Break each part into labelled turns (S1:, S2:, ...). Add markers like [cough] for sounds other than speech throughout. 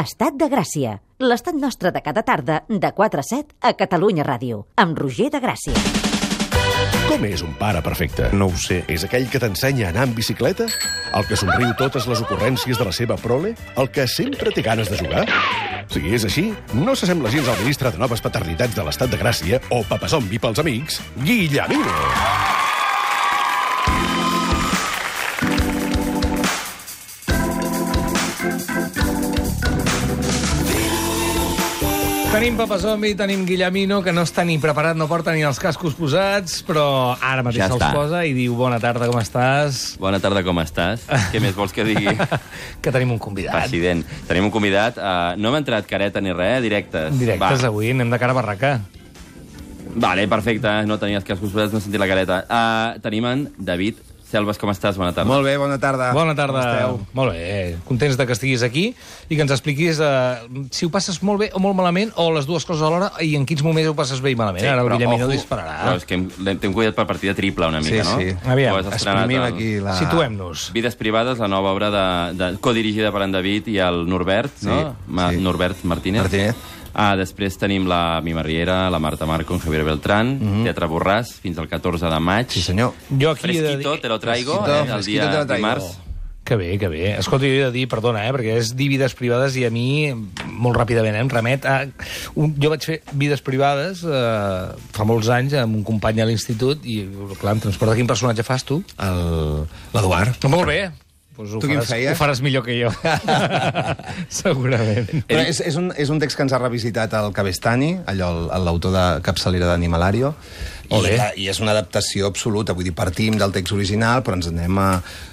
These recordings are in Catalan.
S1: Estat de Gràcia, l'estat nostre de cada tarda, de 4 a 7, a Catalunya Ràdio, amb Roger de Gràcia.
S2: Com és un pare perfecte?
S3: No ho sé.
S2: És aquell que t'ensenya a anar en bicicleta? El que somriu totes les ocurrències de la seva prole? El que sempre té ganes de jugar? Si és així, no s'assembla gens al ministre de Noves Paternitats de l'Estat de Gràcia o papazombi pels amics, Guillemino.
S4: Tenim Papa Zombi, tenim Guillemino, que no està ni preparat, no porta ni els cascos posats, però ara mateix
S3: Ja
S4: se'ls
S3: està.
S4: posa i diu bona tarda, com estàs?
S3: Bona tarda, com estàs? Què més vols que
S5: [laughs]
S3: digui?
S4: que tenim un convidat.
S3: President, tenim un convidat. Uh, no hem entrat careta ni res, eh, directes.
S4: Directes
S3: Va.
S4: avui, anem de cara a barraca.
S3: Vale, perfecte. eh, No tenies cascos posats, no he sentit la careta. Uh, tenim en David Selves, com estàs? Bona tarda.
S5: Molt bé, bona tarda.
S4: Bona tarda.
S5: Com
S4: Molt bé, contents de que estiguis aquí i que ens expliquis eh, si ho passes molt bé o molt malament, o les dues coses alhora, i en quins moments ho passes bé i malament. ara el
S3: però
S4: Guillemino
S3: ojo,
S4: dispararà.
S3: Però és que hem, l'hem- t'hem cuidat per partida triple una mica,
S5: Sí,
S3: no?
S5: sí.
S4: Aviam,
S3: Ho has estrenat
S5: esteu?
S3: eh?
S5: Exprimim
S3: al-
S5: aquí la...
S4: Situem-nos.
S3: Vides privades, la nova obra de, de, codirigida per en David i el Norbert,
S5: Sí,
S3: no? Ma,
S5: sí.
S3: Norbert Martínez.
S5: Martínez.
S3: Ah, després tenim la Mima Riera, la Marta Marco, en Javier Beltrán, mm -hmm. Teatre Borràs, fins al 14 de maig.
S5: Mhm. Sí, senyor.
S4: Jo aquí he de
S3: Fresquito,
S4: dir-
S3: te lo traigo,
S5: Fresquito,
S3: eh, el
S5: fresquito te
S3: dia
S5: lo traigo. Oh,
S3: dimarts.
S4: Que bé, que bé. Escolta, jo he de dir, perdona, eh, perquè és dir vides privades i a mi, molt ràpidament, eh, em remet a... Un, jo vaig fer vides privades eh, fa molts anys amb un company a l'institut i, clar, em transporta quin personatge fas tu?
S5: El- L'Eduard.
S4: No, molt bé. Pues ho,
S5: Tu quin
S4: faràs,
S5: feies?
S4: ho faràs millor que jo. [laughs] Segurament.
S5: Però és, és, un, és un text que ens ha revisitat el Cavestani, allò, el- l'autor de Capçalera d'Animalario, i,
S4: Olé.
S5: la- i és una adaptació absoluta, vull dir, partim del text original, però ens anem a,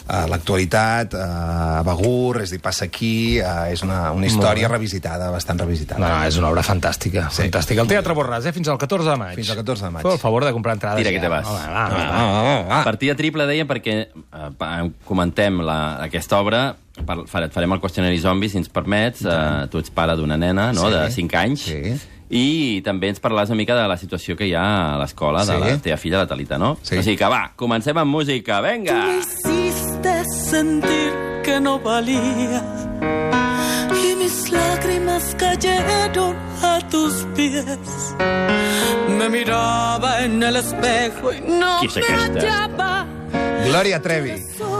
S5: a l'actualitat, a Begur, és a dir, passa aquí, a, és una, una història revisitada, bastant revisitada.
S4: No, no, és una obra fantàstica.
S5: Sí.
S4: Fantàstica. El Teatre Borràs, eh? Fins al 14 de maig.
S5: Fins al 14 de maig.
S4: Feu el favor de comprar entrades.
S3: Tira que
S4: ja.
S3: te vas.
S4: Home, va, va, va.
S3: Ah. Partida triple, deia, perquè eh, pa- comentem la, aquesta obra, par, fare- et farem el qüestionari zombi, si ens permets. Eh, tu ets pare d'una nena, no?,
S5: Sí.
S3: de 5 anys.
S5: Sí.
S3: I també ens parlaràs una mica de la situació que hi ha a l'escola de
S5: Sí.
S3: la teva filla, la Talita, no?
S5: Sí.
S3: O sigui que va, comencem amb música, venga!
S6: Tú me hiciste sentir que no valía y mis lágrimas cayeron a tus pies. Me miraba en el espejo y no
S3: Qui és
S6: me
S3: aquesta?
S6: hallaba.
S5: Glòria Trevi,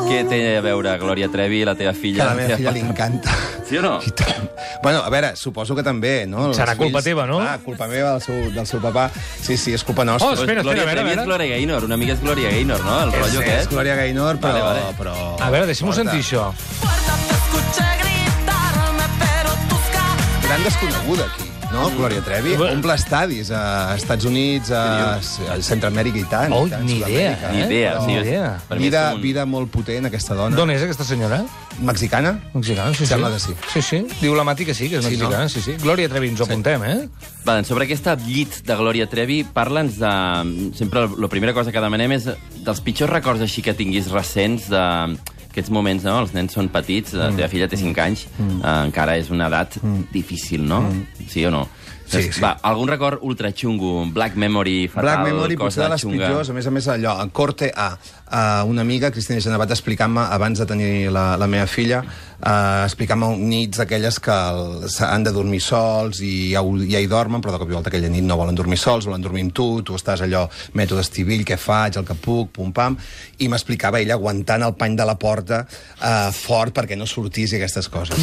S3: Què té a veure Glòria Trevi, la teva
S5: que
S3: filla?
S5: a la meva
S3: teva
S5: filla
S3: fa-
S5: li encanta.
S3: Sí o no?
S5: I tant. Bueno, a veure, suposo que també, no? Els
S4: Serà culpa
S5: fills-
S4: teva, no?
S5: Ah, culpa meva del seu, del seu papà. Sí, sí, és culpa
S4: Oh,
S5: nostra.
S4: espera, espera,
S3: Glòria
S4: a veure, a
S3: Trevi és
S4: veure.
S3: Glòria Gaynor, una mica és Glòria Gaynor, no? El
S5: és,
S3: rotllo
S5: és
S3: aquest.
S5: Glòria Gaynor, però...
S3: Vale, vale.
S5: però...
S4: A veure, deixem-ho
S5: Porta.
S4: sentir, això.
S6: Guarda, te escuché gritarme, pero tus cadenas
S5: Gran desconeguda, aquí. No, Glòria Trevi?
S4: Mm. Bé.
S5: Omple estadis a Estats Units, a, a Centroamèrica i tant.
S4: Oh,
S5: i tant,
S4: ni idea,
S5: Sud-amèrica,
S3: Ni
S4: eh?
S3: idea.
S4: Però-
S3: o sigui, és-
S4: Ni idea.
S3: per mi és
S5: Vida,
S3: com un-
S5: vida molt potent, aquesta dona.
S4: D'on és aquesta senyora?
S5: Mexicana?
S4: Mexicana, sí, sí.
S5: Sembla que sí.
S4: Sí, sí. Diu la Mati que sí, que és
S5: Sí, no?
S4: mexicana, sí, sí. Glòria Trevi, ens ho apuntem, eh?
S3: Va, doncs sobre aquesta llit de Glòria Trevi, parla'ns de... mm, Sempre la primera cosa que demanem és dels pitjors records així que tinguis recents de mm, aquests moments, no? Els nens són petits, la
S5: Mm.
S3: teva filla té 5 anys, eh, encara és una edat difícil, no? Sí o no?
S5: Mm. Sí,
S3: Doncs,
S5: sí.
S3: Va, algun record ultraxungo, Black Memory, fatal,
S5: Black Memory,
S3: cosa
S5: potser de les
S3: xunga.
S5: pitjors, a més a més allò, en corte A, uh, una amiga, Cristina Genevat, explicant-me, abans de tenir la, la meva filla, uh, explicant-me nits d'aquelles que el, s'ha- han de dormir sols i ja, ho- ja hi dormen, però de cop i volta aquella nit no volen dormir sols, volen dormir amb tu, tu estàs allò, mètode estivill, què faig, el que puc, pum-pam, i m'explicava ella aguantant el pany de la porta uh, fort perquè no sortís i aquestes coses.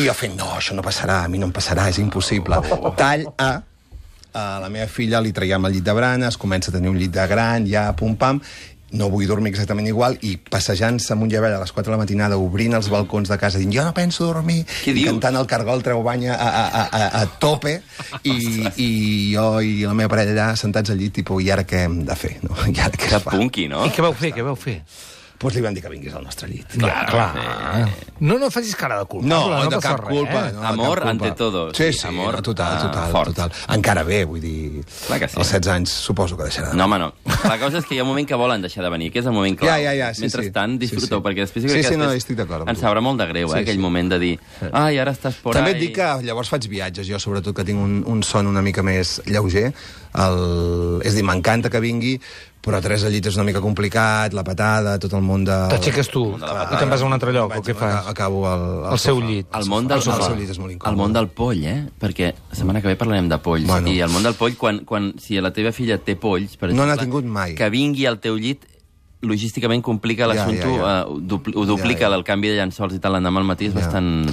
S5: I jo fent, no, això no passarà, a mi no em passarà, és impossible. Tall A, a la meva filla li traiem el llit de branes, comença a tenir un llit de gran, ja pum-pam, no vull dormir exactament igual, i passejant-se amunt i avall a les 4 de la matinada, obrint els balcons de casa, dient, jo no penso dormir,
S3: Què
S5: i
S3: dius?
S5: cantant el cargol treu banya a, a, a, a, a tope, i, i jo i la meva parella allà sentats al llit, tipus, i ara què hem de fer? No? [laughs] I ara què
S3: Que
S5: es fa?
S3: punky, no?
S4: I què vau fer, què vau fer?
S5: Pues li van dir que vinguis al nostre llit.
S4: No, clar. No, no facis cara de culpa.
S5: No,
S4: no
S5: no de
S4: passa
S5: cap
S4: res,
S5: culpa.
S4: eh?
S5: No,
S3: Amor
S5: de cap
S3: ante todo.
S5: Sí,
S3: Sí,
S5: sí,
S3: amor,
S5: amor, total,
S3: ah,
S5: total,
S3: fort.
S5: total. Encara bé, vull dir...
S3: Clar que sí.
S5: Als 16 anys suposo que deixarà de
S3: No, home, no. La cosa és que hi ha un moment que volen deixar de venir, que és el moment clau.
S5: Ja, ja, ja, sí,
S3: Mentrestant,
S5: sí.
S3: disfruteu,
S5: Sí, sí.
S3: perquè després...
S5: Sí,
S3: crec que
S5: sí, no,
S3: després
S5: estic d'acord amb
S3: Ens
S5: tu.
S3: sabrà molt de greu, eh,
S5: Sí,
S3: aquell
S5: sí.
S3: moment de dir... Ai, ara estàs por
S5: També
S3: ahí.
S5: et dic que llavors faig viatges, jo, sobretot que tinc un, un son una mica més lleuger. El... És a dir, m'encanta que vingui, però tres al llit és una mica complicat, la patada, tot el món de...
S4: T'aixeques tu i te'n vas a un altre lloc, o
S5: Vaig-
S4: què fas?
S5: Acabo al, al
S4: Al seu
S5: sofà.
S4: llit.
S3: El món, del,
S5: El sofà.
S3: el,
S5: El llit és molt incòmode.
S3: el món del poll, eh? Perquè la setmana que ve parlarem de polls.
S5: Bueno.
S3: Bueno. I el món del poll, quan, quan, si la teva filla té polls... Per
S5: No n'ha
S3: exemple,
S5: tingut mai.
S3: Que vingui al teu llit logísticament complica l'assumpte, ja,
S5: ja,
S3: ja,
S5: ja.
S3: ho, dupli, ho duplica
S5: Ja, ja.
S3: el canvi de llençols i tal l'endemà al matí és bastant...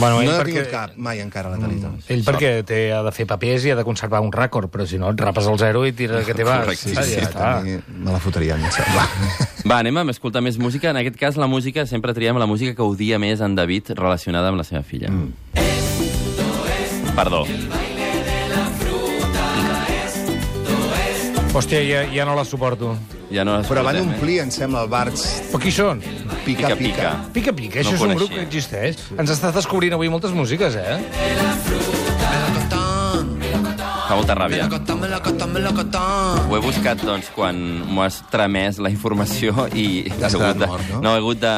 S4: Bueno,
S5: No
S4: ell,
S5: n'ha
S4: perquè,
S5: tingut cap, mai encara, la Talita. Mm.
S4: ell perquè té, ha de fer papers i ha de conservar un rècord, però si no et rapes el zero i tires que te vas.
S3: Correcte,
S4: Ah, ja està.
S5: Me la fotrien, em sembla.
S3: Va, anem a escoltar més música. En aquest cas, la música, sempre triem la música que odia més en David relacionada amb la seva filla. Mm. Perdó.
S4: Hòstia, ja, ja no la suporto.
S3: Ja no
S5: [laughs] Però van
S3: l'escoltem, eh?
S5: omplir, em sembla, el Barts
S4: Però qui són?
S5: Pica Pica. pica.
S4: Pica Pica, això
S3: No
S4: no és un
S3: coneixia.
S4: grup que existeix. Ens estàs descobrint avui moltes músiques, eh?
S3: Fa molta ràbia. Ho he buscat, doncs, quan m'ho has tramès la informació i... [laughs]
S5: T'has
S3: he hagut
S5: quedat
S3: de-
S5: mort, no?
S3: No, he hagut de...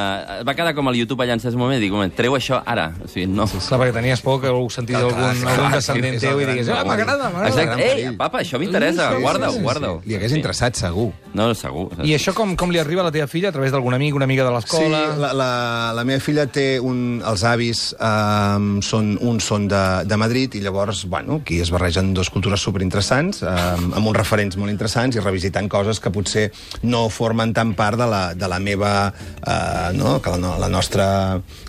S3: Va quedar com el YouTube allà en certs moments, dic, moment, treu això ara. O sigui, no.
S4: Clar, perquè tenies por que ho sentís
S5: Clar,
S4: algun,
S5: clar, clar,
S4: algun
S5: clar,
S4: descendent
S5: és el
S4: teu i
S5: gran
S4: digués, ah,
S5: drama".
S4: m'agrada, m'agrada.
S5: gran
S3: Exacte. Ei,
S5: perill.
S3: papa, això m'interessa,
S5: Sí, sí,
S3: guarda-ho,
S5: sí, sí.
S3: guarda-ho.
S5: Li hagués interessat, segur.
S3: No, segur.
S4: I això com, com li arriba a la teva filla? A través d'algun amic, una amiga de l'escola?
S5: Sí, la, la, la meva filla té un... Els avis eh, són, uns són de, de Madrid i llavors, bueno, aquí es barregen dues cultures superinteressants, eh, amb uns referents molt interessants i revisitant coses que potser no formen tan part de la, de la meva... Eh, no? Que la, no- la nostra...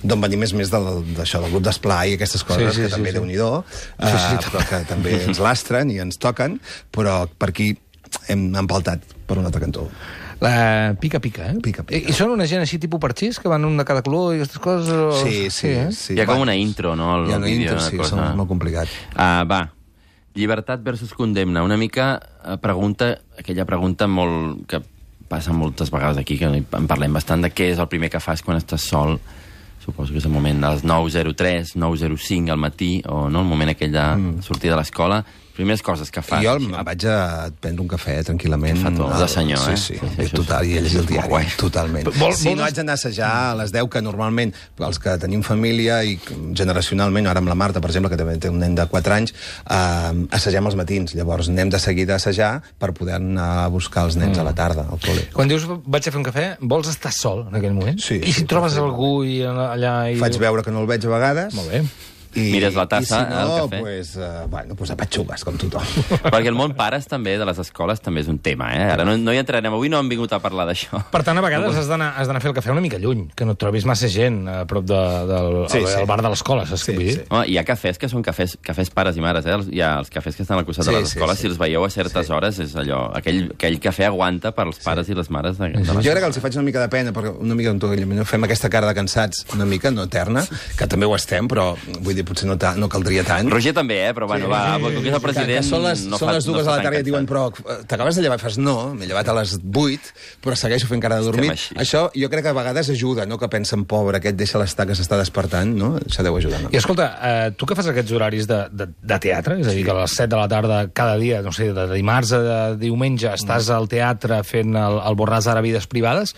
S5: D'on venim és més del, d'això, del grup d'esplai i aquestes coses,
S4: Sí, sí,
S5: que
S4: sí,
S5: també
S4: sí.
S5: Déu-n'hi-do, eh, però que també ens lastren i ens toquen, però per aquí hem empaltat per un altre cantó.
S4: La pica, pica, eh?
S5: Pica, pica.
S4: I, I són una gent així tipus parxís, que van un de cada color i aquestes coses? O...
S5: Sí, sí,
S4: eh?
S5: sí.
S3: Hi ha com
S5: Va.
S3: una intro, no? al
S5: Hi ha una
S3: vídeo,
S5: intro,
S3: una
S5: sí,
S3: cosa.
S5: són molt complicat.
S3: Ah, va. Llibertat versus condemna. Una mica eh, pregunta, aquella pregunta molt que passa moltes vegades aquí, que en parlem bastant, de què és el primer que fas quan estàs sol. Suposo que és el moment dels 9.03, 9.05 al matí, o no, el moment aquell de mm. sortir de l'escola. Primeres coses que fas.
S5: Jo
S3: O sigui,
S5: em vaig a prendre un cafè tranquil·lament.
S3: Fa tot,
S5: al-
S3: de senyor,
S5: sí,
S3: eh? Sí,
S5: Sí, sí,
S3: sí, això és-
S5: total, i a llegir el
S3: és molt
S5: diari,
S3: guai.
S5: totalment.
S4: vol-
S5: si
S4: vol-
S5: no haig d'anar a assajar a les 10, que normalment els que tenim família i generacionalment, ara amb la Marta, per exemple, que també té un nen de 4 anys, eh, assagem els matins, llavors anem de seguida a assajar per poder anar a buscar els nens mm. a la tarda al col·le.
S4: Quan dius vaig a fer un cafè, vols estar sol en aquell moment?
S5: Sí,
S4: I si
S5: sí,
S4: trobes algú i allà... I...
S5: Faig veure que no el veig a vegades.
S4: Molt bé.
S5: I,
S3: Mires la tassa,
S5: i si no,
S3: eh, el cafè.
S5: Pues, eh, bueno, pues apatxugues, com
S3: [laughs]
S5: tothom.
S3: Perquè el món pares també, de les escoles, també és un tema, eh? Ara no, no hi entrarem, avui no hem vingut a parlar d'això.
S4: Per tant, a vegades has d'anar has d'anar a fer el cafè una mica lluny, que no et trobis massa gent a prop de, del
S5: Sí,
S4: sí,
S5: sí.
S4: sí. bar de l'escola, saps
S5: Sí,
S4: què vull dir?
S5: sí.
S3: Home, hi ha cafès que són cafès, cafès pares i mares, eh? Els- Hi ha els cafès que estan al costat
S5: Sí,
S3: de les
S5: sí,
S3: escoles,
S5: sí.
S3: si els veieu a certes sí. hores, és allò... Aquell, aquell cafè aguanta per als pares sí. i les mares de, de les...
S5: Jo crec que els hi faig una mica de pena, perquè una mica no fem aquesta cara de cansats, una mica, no eterna, que també ho estem, però vull dir, potser no, ta, no caldria tant.
S3: Roger també, eh? Però bueno, va, com que és el
S5: Que,
S3: president...
S5: que són les,
S3: no
S5: són
S3: fa-
S5: les dues
S3: no
S5: a
S3: fa
S5: la tarda i
S3: tan
S5: et diuen
S3: cansat.
S5: però eh, t'acabes de llevar? I Fas no, m'he llevat a les 8, però segueixo fent cara de dormir.
S3: així.
S5: Això jo crec que a vegades ajuda, no? Que pensen, pobre, aquest deixa l'estar que s'està despertant, no? Això deu ajudar. No?
S4: I escolta, eh, tu que fas aquests horaris de, de, de teatre, és a dir, que a les 7 de la tarda cada dia, no sé, de dimarts a diumenge estàs al teatre fent el, el borràs ara vides privades,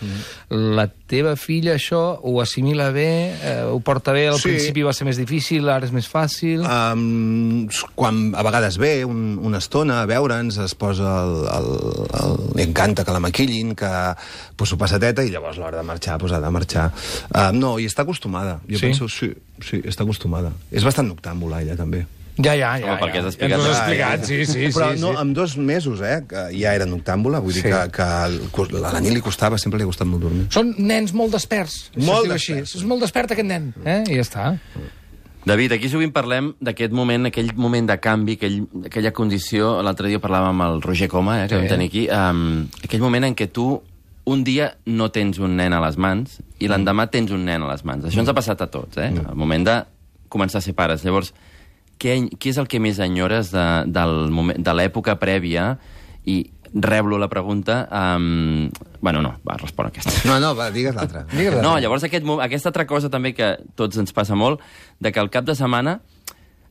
S4: la teva filla això ho assimila bé, eh, ho porta bé, al
S5: Sí.
S4: sí. principi va ser més difícil, ara és més fàcil... Ah.
S5: Um, quan a vegades ve un, una estona a veure'ns, es posa el, el, el, li encanta que la maquillin, que pues, ho passa teta i llavors a l'hora de marxar, pues, ha de marxar. Uh, no, i està acostumada. Jo
S4: Sí?
S5: penso, sí, sí, està acostumada. És bastant noctàmbula, ella, també.
S4: Ja, ja, ja.
S3: Home, perquè
S4: ja.
S3: has explicat-
S4: Ens ho has
S3: Ah,
S4: explicat, sí,
S5: [laughs]
S4: sí.
S5: eh? Però
S4: sí,
S5: no,
S4: sí.
S5: amb dos mesos, eh, que ja era noctàmbula, vull dir
S4: Sí.
S5: que, que el cos- a la nit li costava, sempre li ha costat molt dormir.
S4: Són nens molt desperts. això
S5: Molt
S4: es diu així.
S5: desperts.
S4: És molt despert aquest nen. Eh? I ja està.
S3: David, aquí sovint parlem d'aquest moment, aquell moment de canvi, aquell, aquella condició... L'altre dia parlàvem amb el Roger Coma, eh,
S4: Sí.
S3: que sí. vam tenir aquí, um, aquell moment en què tu un dia no tens un nen a les mans i l'endemà tens un nen a les mans. Això ens ha passat a tots, eh? El moment de començar a ser pares. Llavors, què, eny- què és el que més enyores de, del moment, de l'època prèvia? I reblo la pregunta... Um, bueno, no, va, respon aquesta.
S5: No, no, va, digues l'altra.
S4: Digues-la.
S3: No, llavors aquest, mo- aquesta altra cosa també que tots ens passa molt, de que el cap de setmana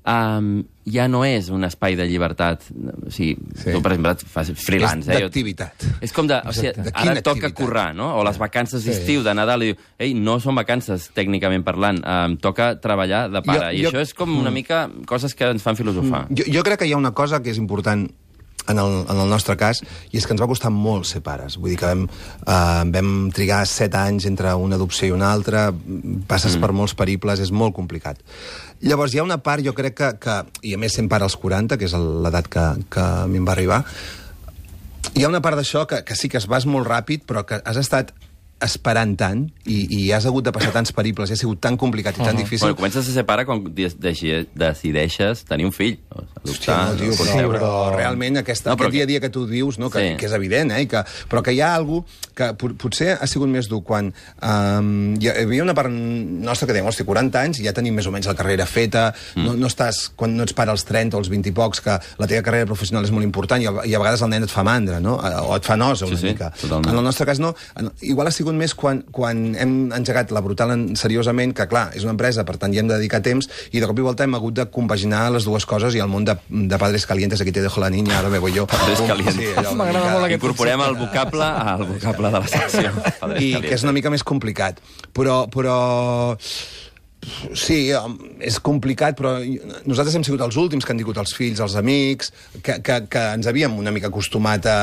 S3: um, ja no és un espai de llibertat. O sigui,
S5: Sí.
S3: sí. tu, per exemple, fas freelance.
S5: És
S3: eh? Jo-
S5: d'activitat.
S3: És com de... O sigui,
S5: Exacte. De
S3: ara
S5: quina
S3: toca
S5: activitat?
S3: currar, no? O les vacances d'estiu, de Nadal, i diu, ei, no són vacances, tècnicament parlant, em toca treballar de pare.
S5: Jo- mm.
S3: I
S5: jo-
S3: això és com una mica coses que ens fan filosofar.
S5: Jo, jo crec que hi ha una cosa que és important en el, en el nostre cas, i és que ens va costar molt ser pares. Vull dir que vam, eh, vam trigar set anys entre una adopció i una altra, passes mm. per molts periples, és molt complicat. Llavors, hi ha una part, jo crec que... que I a més, sent pare als 40, que és el- l'edat que, que a mi em va arribar, hi ha una part d'això que, que sí que es vas molt ràpid, però que has estat esperant tant i, i has hagut de passar tants periples, i ha sigut tan complicat i tan difícil...
S3: Bueno, comences a ser pare quan des- deci- decideixes tenir un fill. o
S5: Hòstia,
S3: Adoptar,
S5: no, tio, però, sí,
S3: concebre.
S5: però realment aquest,
S3: No,
S5: no,
S3: però
S5: aquest dia a dia que tu dius, no, que,
S3: Sí.
S5: sí. que és evident, eh, i que, però que hi ha algú que pot, potser ha sigut més dur quan um, hi havia una part nostra que dèiem, hòstia, 40 anys, ja tenim més o menys la carrera feta, mm. no, no estàs, quan no ets pare als 30 o als 20 i pocs, que la teva carrera professional és molt important i a, i a vegades el nen et fa mandra, no? Eh, o et fa nosa una
S3: Sí, sí,
S5: mica.
S3: totalment.
S5: En el nostre cas no. En, igual ha sigut més quan, quan hem engegat la Brutal en, seriosament, que clar, és una empresa, per tant hi hem de dedicar temps, i de cop i volta hem hagut de compaginar les dues coses i el món de, de Padres Calientes, aquí te dejo la niña, ara me voy yo.
S3: Padres
S5: Pum,
S3: Calientes.
S5: allò una
S4: M'agrada
S5: mica-
S4: molt aquest
S3: Incorporem el vocable al vocable de la secció. Padres
S5: [laughs] i que
S3: calientes.
S5: és una mica més complicat. Però, però... Sí, hom, és complicat, però nosaltres hem sigut els últims que han tingut els fills, els amics, que, que, que ens havíem una mica acostumat a,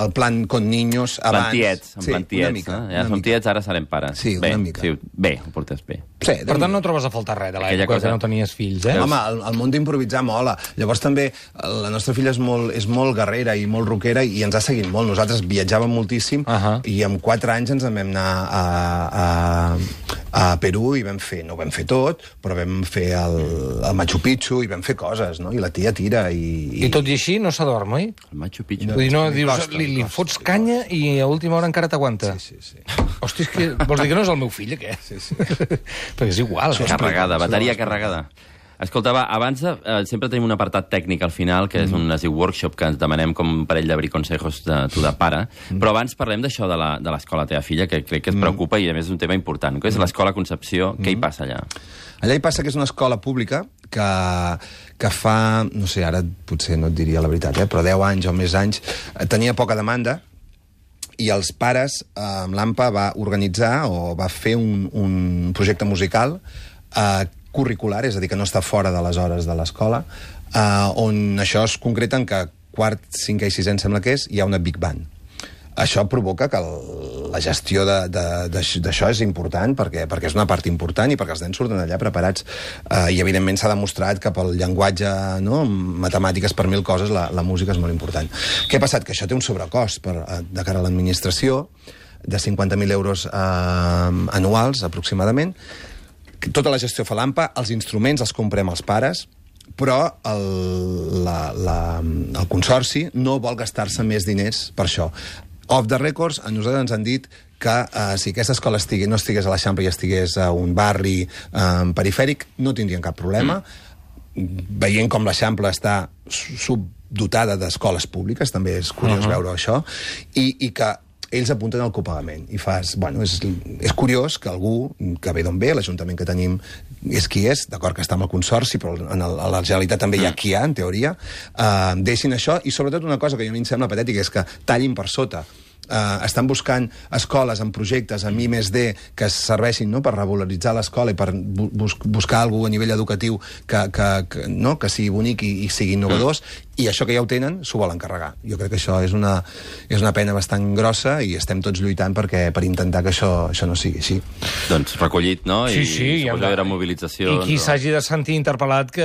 S5: al plan con niños abans.
S3: Plantiets, en
S5: sí,
S3: plantiets.
S5: una mica.
S3: eh? Ja som tiets, ara serem pares.
S5: Sí,
S3: bé,
S5: una mica.
S3: Sí, bé, ho portes bé.
S5: Sí,
S4: Per tant, no trobes a faltar res de
S3: Aquella
S4: l'època
S3: cosa-
S4: que no tenies fills, eh?
S5: Home, el, el món d'improvisar mola. Llavors també eh, la nostra filla és molt, és molt guerrera i molt rockera i ens ha seguit molt. Nosaltres viatjàvem moltíssim
S4: Ahà.
S5: i amb 4 anys ens en vam anar a, a, a Perú i vam fer, no ho vam fer tot, però vam fer el, el Machu Picchu i vam fer coses, no? I la tia tira i...
S4: I tot i així no s'adorm, oi?
S3: El Machu Picchu.
S4: Vull dir, no,
S5: li
S4: dius,
S5: costa,
S4: li,
S5: li
S4: li
S5: costa,
S4: fots
S5: li
S4: canya i a última hora encara t'aguanta.
S5: Sí, sí, sí.
S4: Hòstia, és que vols dir que no és el meu fill, aquest? Sí, [laughs] sí. Perquè és igual. eh?
S3: Carregada, bateria carregada. Escolta, va, abans de, eh, sempre tenim un apartat tècnic al final, que
S5: Mm.
S3: és un es diu workshop que ens demanem com un parell d'abriconsejos de tu de pare,
S5: Mm.
S3: però abans parlem d'això de la- de l'escola teva filla, que crec que et preocupa i a més és un tema important, que és
S5: Mm.
S3: l'escola Concepció, què hi passa allà?
S5: Allà hi passa que és una escola pública que, que fa, no sé, ara potser no et diria la veritat, eh, però 10 anys o més anys, eh, tenia poca demanda i els pares, eh, amb l'AMPA, va organitzar o va fer un, un projecte musical eh, curricular, és a dir, que no està fora de les hores de l'escola, eh, on això es concreta en que quart, cinquè i sisè, em sembla que és, hi ha una big band això provoca que el, la gestió de- de- d'aix- d'això és important perquè, perquè és una part important i perquè els nens surten allà preparats eh, i evidentment s'ha demostrat que pel llenguatge no, matemàtiques per mil coses la, la música és molt important què ha passat? que això té un sobrecost per, eh, de cara a l'administració de 50.000 euros eh, anuals aproximadament que tota la gestió fa l'AMPA, els instruments els comprem els pares, però el, la, la, el consorci no vol gastar-se més diners per això. Off the records, a nosaltres ens han dit que eh, si aquesta escola estigui, no estigués a l'Eixample i estigués a un barri eh, perifèric, no tindrien cap problema. Mm. Veient com l'Eixample està su- subdotada d'escoles públiques, també és curiós uh -huh. veure això, i, i que ells apunten al copagament i fas, bueno, és, és curiós que algú que ve d'on ve, l'Ajuntament que tenim és qui és, d'acord que està amb el Consorci però en el, a la Generalitat també hi ha qui hi ha en teoria, eh, deixin això i sobretot una cosa que a mi em sembla patètica és que tallin per sota Uh, estan buscant escoles amb projectes amb I més D que serveixin no, per regularitzar l'escola i per bu bus buscar algú a nivell educatiu que, que, que, no, que sigui bonic i, i sigui innovadors
S3: Mm.
S5: i això que ja ho tenen s'ho volen carregar. Jo crec que això és una, és una pena bastant grossa i estem tots lluitant perquè, per intentar que això, això no sigui així.
S3: Doncs recollit, no?
S4: Sí, sí.
S3: I suposo
S4: ja-
S3: que hi haurà mobilització.
S4: I qui
S3: no?
S4: s'hagi de sentir interpel·lat que,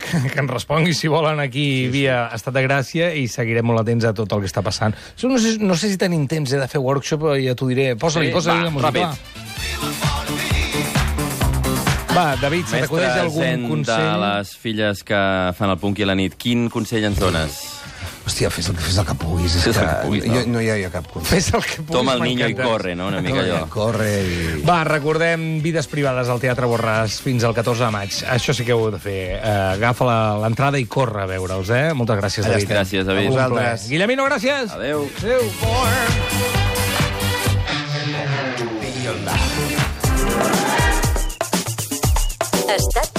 S4: que, que ens respongui, si volen, aquí sí, via Estat de Gràcia i seguirem molt atents a tot el que està passant. Jo no sé, no sé si tenim temps eh, de fer workshop, eh, ja t'ho diré. Posa-li,
S3: Sí,
S4: posa-li
S3: va,
S4: la música.
S3: ràpid.
S4: va. Va, David, se t'acudeix
S3: Mestre
S4: algun
S3: Zen
S4: consell?
S3: de les filles que fan el punk i la nit, quin consell ens dones?
S5: Hòstia, fes el, fes el que puguis. és
S3: Fes el que puguis, no?
S5: Jo, no hi ha, hi ha cap consell.
S4: Fes el que puguis,
S3: Toma el niño i
S4: m'encanta.
S3: corre, no? Una mica allò.
S5: Corre i...
S4: Va, recordem Vides privades al Teatre Borràs fins al 14 de maig. Això sí que ho heu de fer. Eh, agafa la- l'entrada i corre a veure'ls, eh? Moltes gràcies,
S5: Allà
S4: David.
S5: estem.
S3: Gràcies, David.
S4: Un plaer.
S5: Vosaltres.
S4: Guillemino, gràcies.
S3: Adeu.
S4: Adéu.
S1: Estat